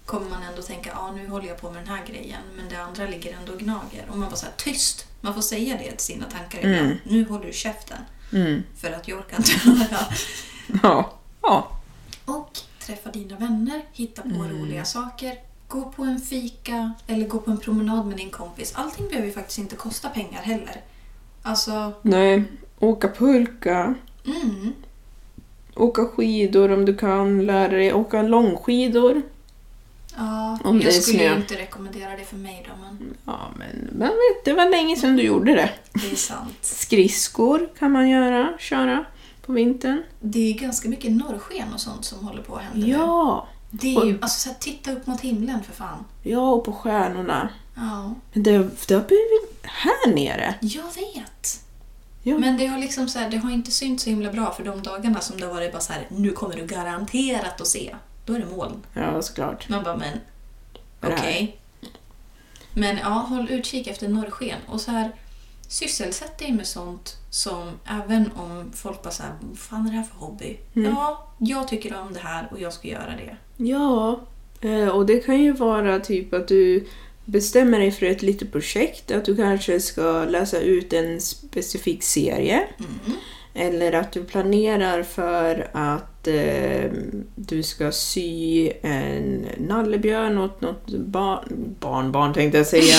kommer man ändå tänka ja nu håller jag på med den här grejen. Men det andra ligger ändå och gnager. Och man bara så här, tyst! Man får säga det till sina tankar ibland. Nu håller du käften. För att jag orkar inte (laughs) höra.
ja, ja.
Och träffa dina vänner, hitta på roliga saker. Gå på en fika eller gå på en promenad med din kompis. Allting behöver ju faktiskt inte kosta pengar heller. Alltså,
Nej, åka pulka,
mm.
åka skidor om du kan, lära dig åka långskidor.
Ja,
Om det är
jag skulle ju
snö.
inte rekommendera det för mig då, men
Ja, men man vet, det var länge sedan du gjorde det.
det är sant.
Skridskor kan man göra, köra på vintern.
Det är ju ganska mycket norrsken och sånt som håller på att hända nu.
Ja,
Det är ju, alltså så här, titta upp mot himlen för fan.
ja och på stjärnorna.
Ja,
Men det, det har blivit här nere.
jag vet.
Ja.
Men det har liksom så här, det har inte synts så himla bra för de dagarna som det har varit bara så här, nu kommer du garanterat att se. Då är det moln.
Ja, såklart.
Man bara, men
Vad är
okej.
det här?
Men ja, håll utkik efter norrsken. Och så här, sysselsätt dig med sånt som, även om folk bara såhär, vad fan är det här för hobby?
Mm.
Ja, jag tycker om det här och jag ska göra det.
Ja, eh, och det kan ju vara typ att du bestämmer dig för ett litet projekt, att du kanske ska läsa ut en specifik serie. Eller att du planerar för att eh, du ska sy en nallebjörn åt något barn, barnbarn tänkte jag säga.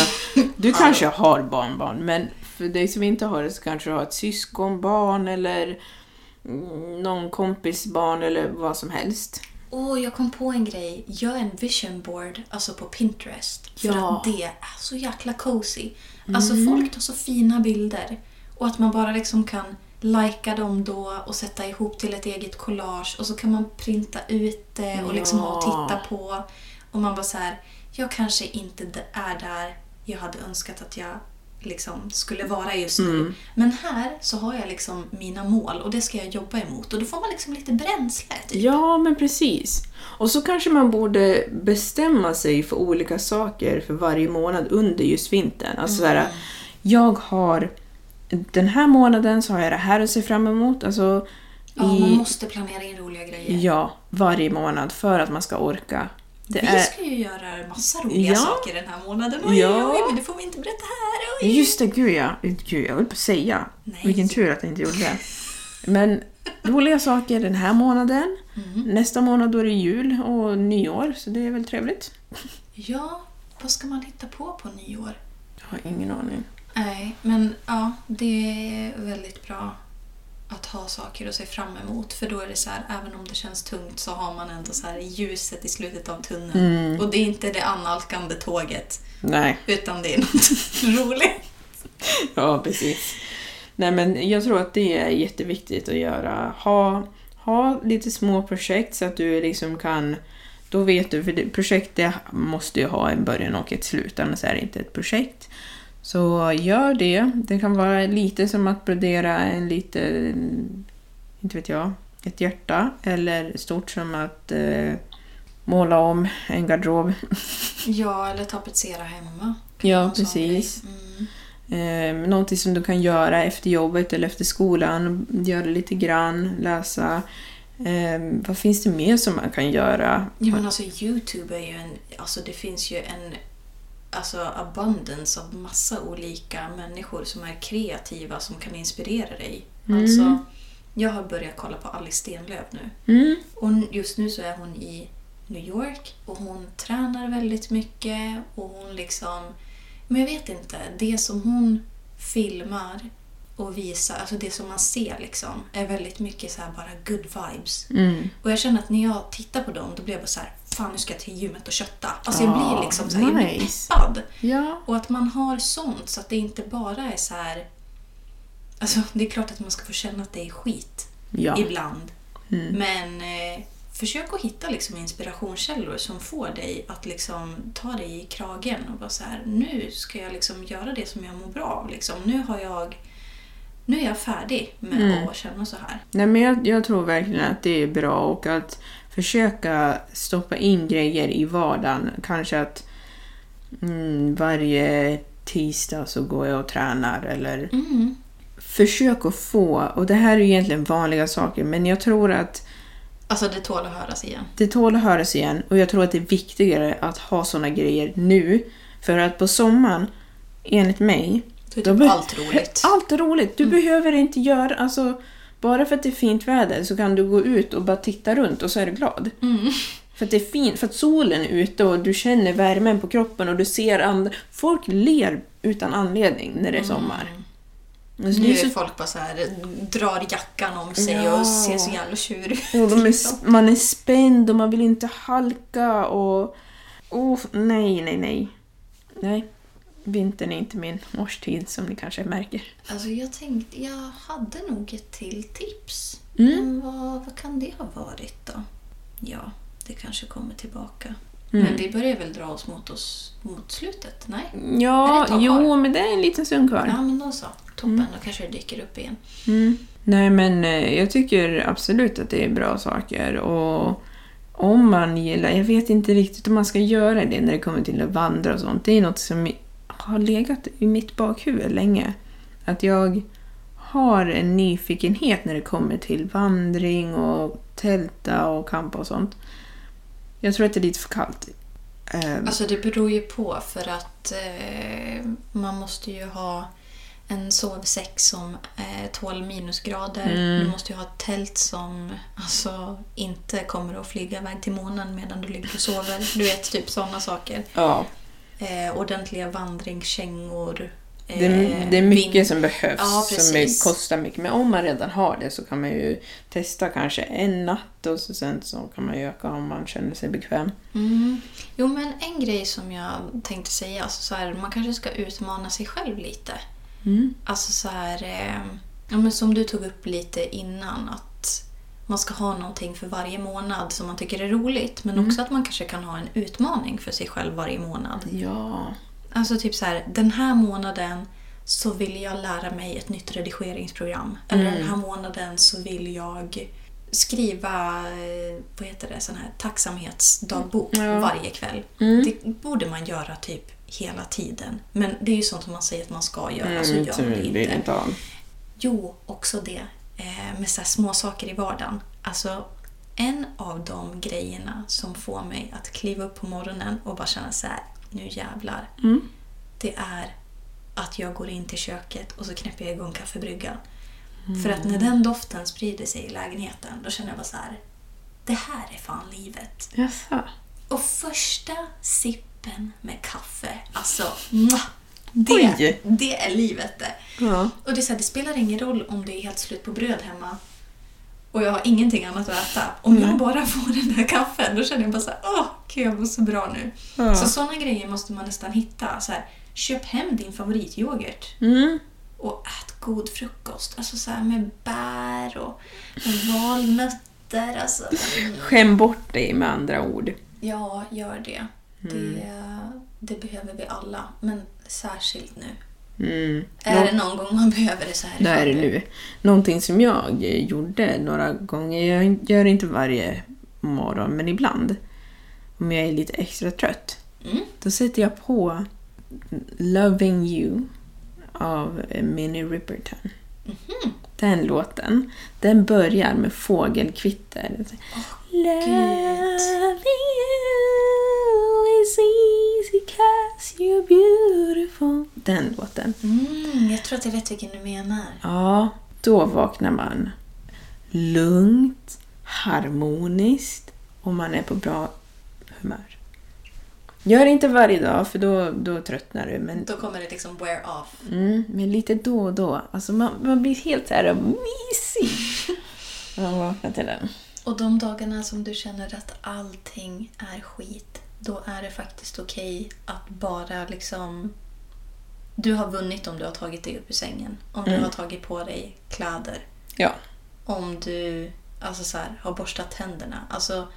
Du kanske har barnbarn, men för dig som inte har det så kanske du har ett syskonbarn eller mm, någon kompis barn eller vad som helst.
Åh, jag kom på en grej. Gör en vision board, alltså på Pinterest. För
Ja. Mm.
att det är så jäkla cozy. Alltså folk tar så fina bilder. Och att man bara liksom kan lajka dem då och sätta ihop till ett eget collage. Och så kan man printa ut det och liksom ha och
Ja.
titta på. Och man bara så här, jag kanske inte d- är där jag hade önskat att jag liksom skulle vara just nu.
Mm.
Men här så har jag liksom mina mål och det ska jag jobba emot. Och då får man liksom lite bränsle. Typ.
Ja, men precis. Och så kanske man borde bestämma sig för olika saker för varje månad under just vintern. Alltså så
Mm.
här, jag har den här månaden så har jag det här att se fram emot. Alltså,
Ja, man
i,
måste planera in roliga grejer.
ja, varje månad för att man ska orka. Det
vi
är,
ska ju göra massa roliga
Ja.
saker den här månaden. Oj,
Ja.
oj, men det får vi inte berätta här. Oj.
just det, gud ja. Gud, jag höll på att säga.
Nej.
Vilken tur att jag inte gjorde det. Men roliga saker den här månaden.
Mm.
Nästa månad då är det jul och nyår, så det är väl trevligt.
Ja, vad ska man hitta på på nyår?
Jag har ingen aning.
Nej, men ja, det är väldigt bra att ha saker att se fram emot. För då är det så här, även om det känns tungt så har man ändå så här ljuset i slutet av tunneln. Och det är inte det annalkande tåget,
Mm. Nej.
utan det är (laughs) något roligt.
Ja, precis. Nej, men jag tror att det är jätteviktigt att göra. Ha, ha lite små projekt så att du liksom kan... Då vet du, för det, projekt det måste ju ha en början och ett slut, annars är det inte ett projekt. Så gör det. Det kan vara lite som att brodera en liten... Inte vet jag. Ett hjärta. Eller stort som att eh, måla om en garderob.
Ja, eller tapetsera hemma.
Ja,
någon sån
precis.
grej. Mm.
Eh, någonting som du kan göra efter jobbet eller efter skolan. Göra lite grann, läsa. Eh, vad finns det mer som man kan göra?
Ja men alltså Youtube är ju en, alltså det finns ju en alltså abundance av massa olika människor som är kreativa som kan inspirera dig. Alltså, jag har börjat kolla på Alice Stenlöf nu.
Mm.
Och just nu så är hon i New York och hon tränar väldigt mycket och hon liksom... Men jag vet inte, det som hon filmar och visar, alltså det som man ser liksom, är väldigt mycket så här bara good vibes. Och jag känner att när jag tittar på dem då blir jag bara så här, fan nu ska jag till gymmet och kötta. Alltså jag
Ah,
blir liksom så här, jag blir
nice.
peppad.
Ja.
Och att man har sånt så att det inte bara är så här... Alltså det är klart att man ska få känna att det är skit
Ja. Mm.
ibland. Men eh, försök att hitta liksom, inspirationskällor som får dig att liksom, ta dig i kragen och bara så här, nu ska jag liksom, göra det som jag mår bra av. Liksom. Nu, har jag, nu är jag färdig med
Mm.
att känna så här.
Nej, men jag, jag tror verkligen att det är bra och att försöka stoppa in grejer i vardagen. Kanske att mm, varje tisdag så går jag och tränar eller försök att få, och det här är ju egentligen vanliga saker, men jag tror att
Alltså det tål att höras igen.
det tål att höras igen och jag tror att det är viktigare att ha såna grejer nu. För att på sommaren, enligt mig...
Då är
då
typ
be-
allt roligt.
(laughs)
Mm.
Allt är roligt! Du behöver inte göra... Alltså, bara för att det är fint väder så kan du gå ut och bara titta runt och så är du glad.
Mm.
För att det är fint, för att solen är ute och du känner värmen på kroppen och du ser andra... Folk ler utan anledning när det är sommar. Alltså,
Mm. Nu
det är
är
så
folk bara så här, drar jackan om sig
Ja.
och ser så jävla tjur ut.
Och de är,
liksom.
man är spänd och man vill inte halka och... Oh, nej, nej, nej. Nej. Vintern är inte min årstid som ni kanske märker.
Alltså jag tänkte, jag hade nog ett till tips. Men vad, vad kan det ha varit då? Ja, det kanske kommer tillbaka. Men vi börjar väl dra oss mot, oss, mot slutet? Nej? Är det
Ja,
ett tag
jo,
kvar?
men det är en liten stund kvar.
Ja, men då så. Toppen, då kanske det dyker upp igen.
Nej, men eh, jag tycker absolut att det är bra saker och om man gillar... Jag vet inte riktigt om man ska göra det när det kommer till att vandra och sånt. Det är något som har legat i mitt bakhuvud länge. Att jag har en nyfikenhet när det kommer till vandring och tälta och kampa och sånt. Jag tror att det är lite för kallt. Eh,
Alltså det beror ju på för att eh, man måste ju ha en sovsäck som eh, tål minusgrader. Du måste ju ha ett tält som alltså, inte kommer att flyga iväg till månen medan du ligger och sover. Du vet, typ sådana saker.
ja,
Eh, ordentliga vandringskängor. Eh,
det, är- det är mycket
vin-
som behövs
Ja,
som är,
precis.
kostar mycket. Men om man redan har det så kan man ju testa kanske en natt och så sen så kan man ju öka om man känner sig bekväm.
Mm. Jo, men en grej som jag tänkte säga, alltså så här, man kanske ska utmana sig själv lite.
Mm.
Alltså så här, eh, ja, men som du tog upp lite innan, att man ska ha någonting för varje månad som man tycker är roligt,
Mm.
men också att man kanske kan ha en utmaning för sig själv varje månad.
Ja.
Alltså typ så här, den här månaden så vill jag lära mig ett nytt redigeringsprogram. Eller den här månaden så vill jag skriva eh, vad heter det, sån här tacksamhetsdagbok varje kväll. Det borde man göra typ hela tiden. Men det är ju sånt som man säger att man ska göra, så
Mm,
gör man det
vill
alltså, inte.
inte ha.
Jo, också det eh, med så här små saker i vardagen. Alltså, en av de grejerna som får mig att kliva upp på morgonen och bara känna så här, nu jävlar. Det är att jag går in till köket och så knäpper jag igång kaffebryggan. För att när den doften sprider sig i lägenheten, då känner jag bara så här, det här är fan livet.
Jaså?
Och första sippen med kaffe, alltså mwah, det,
Mm. Oj.
det är livet det.
Ja.
Och det, är så här, det spelar ingen roll om det är helt slut på bröd hemma och jag har ingenting annat att äta. Om
Mm.
jag bara får den där kaffen, då känner jag bara så här, åh, gud jag mår så bra nu.
Ja.
Så sådana grejer måste man nästan hitta. Så här, köp hem din favorityoghurt
Mm.
och ät god frukost. Alltså så här med bär och med valnötter. Alltså,
Skäm bort dig med andra ord.
Ja, gör det. det. Det behöver vi alla, men särskilt nu.
Mm.
Är det någon gång man behöver det så här i
Det är det
förväg?
nu. Någonting som jag eh, gjorde några gånger, jag gör inte varje morgon men ibland, om jag är lite extra trött,
Mm.
då sätter jag på Loving You av Minnie Riperton. Mhm. Den låten, den börjar med fågelkvitter. Loving you is easy cause you're beautiful. Den låten.
Mm, jag tror att jag vet vilken du menar.
Ja, då vaknar man lugnt, harmoniskt och man är på bra humör. Gör inte varje dag för då, då tröttnar du, men,
Då kommer det liksom wear off.
mm, men lite då och då. Alltså man, man blir helt så här mysig när man vaknar till den.
Och de dagarna som du känner att allting är skit, då är det faktiskt okej att bara liksom... Du har vunnit om du har tagit dig upp ur sängen. Om du har tagit på dig kläder.
Ja.
Om du alltså så här, har borstat tänderna. Alltså,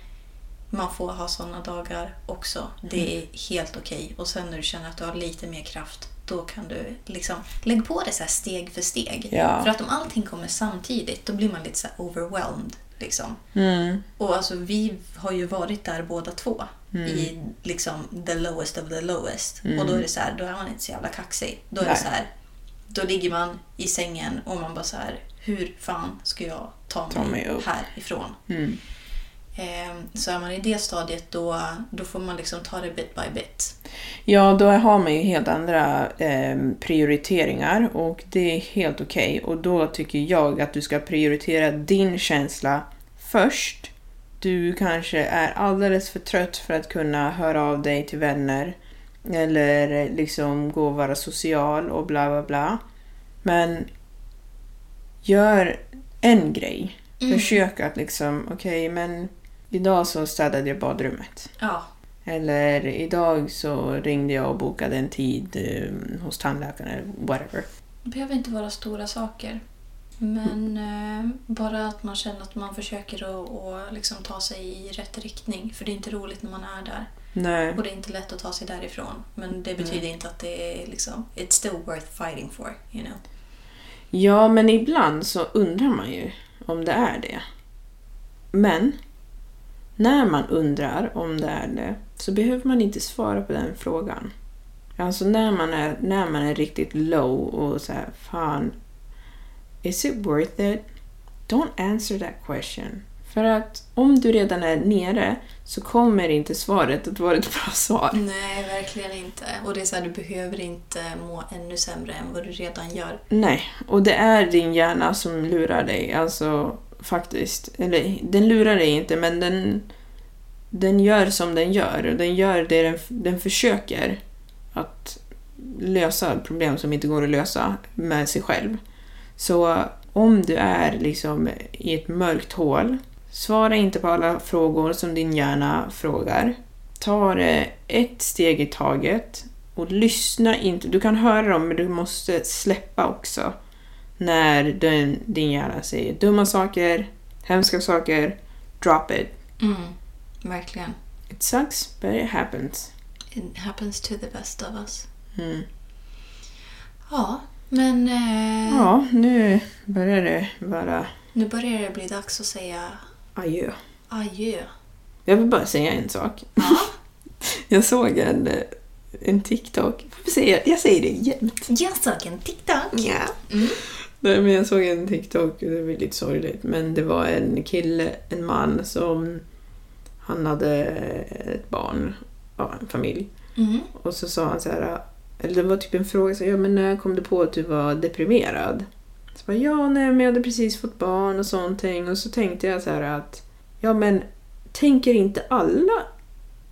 man får ha sådana dagar också. Det
Mm.
är helt okej. Och sen när du känner att du har lite mer kraft, då kan du liksom... Lägg på det så här steg för steg.
Ja.
För att om allting kommer samtidigt, då blir man lite så här overwhelmed. Liksom.
Mm.
Och alltså vi har ju varit där båda två.
Mm.
I liksom the lowest of the lowest. Och då är det så här, då är man inte så jävla kaxig. Då är
Nej.
det så här, då ligger man i sängen och man bara så här, hur fan ska jag ta,
Ta mig
mig
upp.
härifrån?
Mm.
Ehm, Så är man i det stadiet då, då får man liksom ta det bit by bit.
Ja, då har man ju helt andra eh, prioriteringar och det är helt okej. Och då tycker jag att du ska prioritera din känsla först. Du kanske är alldeles för trött för att kunna höra av dig till vänner eller liksom gå och vara social och bla bla bla. Men gör en grej. Försök att liksom, okej men idag så städade jag badrummet.
Ja,
Eller idag så ringde jag och bokade en tid eh, hos tandläkaren eller whatever.
det behöver inte vara stora saker. Men eh, bara att man känner att man försöker att, att liksom ta sig i rätt riktning. För det är inte roligt när man är där.
Nej.
Och det är inte lätt att ta sig därifrån. Men
Mm.
det betyder inte att det är liksom... It's still worth fighting for, you know.
Ja, men ibland så undrar man ju om det är det. Men när man undrar om det är det så behöver man inte svara på den frågan. Alltså när man är, när man är riktigt low och så här, fan, is it worth it? Don't answer that question. För att om du redan är nere så kommer inte svaret att vara ett bra svar.
Nej, verkligen inte. Och det är så här, du behöver inte må ännu sämre än vad du redan gör.
Nej, och det är din hjärna som lurar dig, alltså faktiskt. Eller den lurar dig inte, men den, den gör som den gör. Och Den gör det den, den försöker att lösa problem som inte går att lösa med sig själv. Så om du är liksom i ett mörkt hål, svara inte på alla frågor som din hjärna frågar. Ta det eh, ett steg i taget och lyssna inte. Du kan höra dem, men du måste släppa också när den, din hjärna säger dumma saker, hemska saker, drop it.
Mm, verkligen.
It sucks, but it happens.
It happens to the best of us.
Mm.
Ja, men eh,
Ja, nu börjar det vara
nu börjar det bli dags att säga
adjö.
adjö.
Jag vill bara säga en sak. (laughs) Jag såg en, eh, en TikTok. Varför säger jag, jag säger det jämt.
Jag såg en TikTok.
Ja. Nej, men jag såg en TikTok, och det var lite sorgligt, men det var en kille, en man som han hade ett barn, ja, en familj.
Mm.
Och så sa han så här, eller det var typ en fråga, så, här, ja men när kom du på att du var deprimerad? Så bara, ja nej men jag hade precis fått barn och sånt och så tänkte jag så här att, ja men tänker inte alla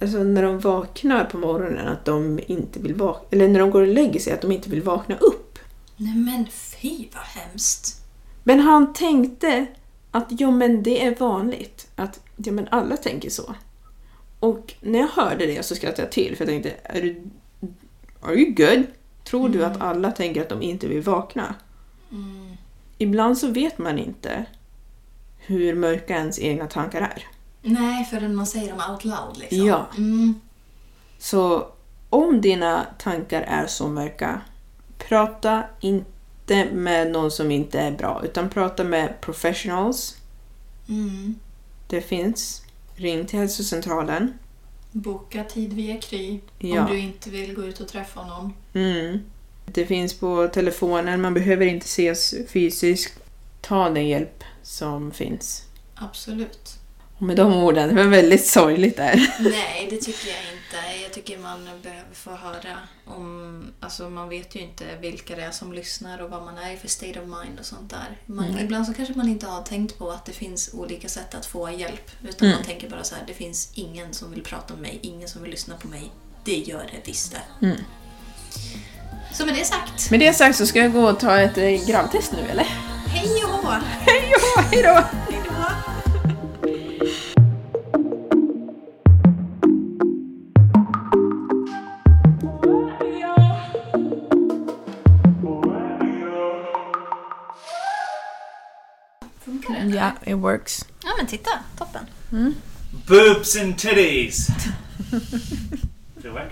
Alltså när de vaknar på morgonen att de inte vill vakna, eller när de går och lägger sig att de inte vill vakna upp.
Nej men fy vad hemskt.
Men han tänkte att ja men det är vanligt, att ja men alla tänker så. Och när jag hörde det så skrattade jag till för jag tänkte, är du, are you good? Tror du att alla tänker att de inte vill vakna? Ibland så vet man inte hur mörka ens egna tankar är.
Nej, förrän man säger dem out loud liksom.
Ja.
Mm.
Så om dina tankar är så mörka, prata inte med någon som inte är bra, utan prata med professionals.
Mm.
Det finns. Ring till hälsocentralen.
Boka tid via Kry
Ja.
om du inte vill gå ut och träffa någon.
Mm. Det finns på telefonen, man behöver inte ses fysiskt. Ta den hjälp som finns.
Absolut.
Och med de orden, det var väldigt sorgligt där.
Nej, det tycker jag inte. Jag tycker man behöver få höra om... Alltså man vet ju inte vilka det är som lyssnar och vad man är i för state of mind och sånt där. Man, Ibland så kanske man inte har tänkt på att det finns olika sätt att få hjälp. Utan man tänker bara så här, det finns ingen som vill prata om mig, ingen som vill lyssna på mig. Det gör det visst det. Så med det sagt,
Med det sagt så ska jag gå och ta ett eh, gravtest nu eller? (laughs)
hej och hå!
Hej då, hej då!
Hej då! Funkar det?
Ja, it works.
Ja men titta, toppen.
Boobs and titties. Does it work?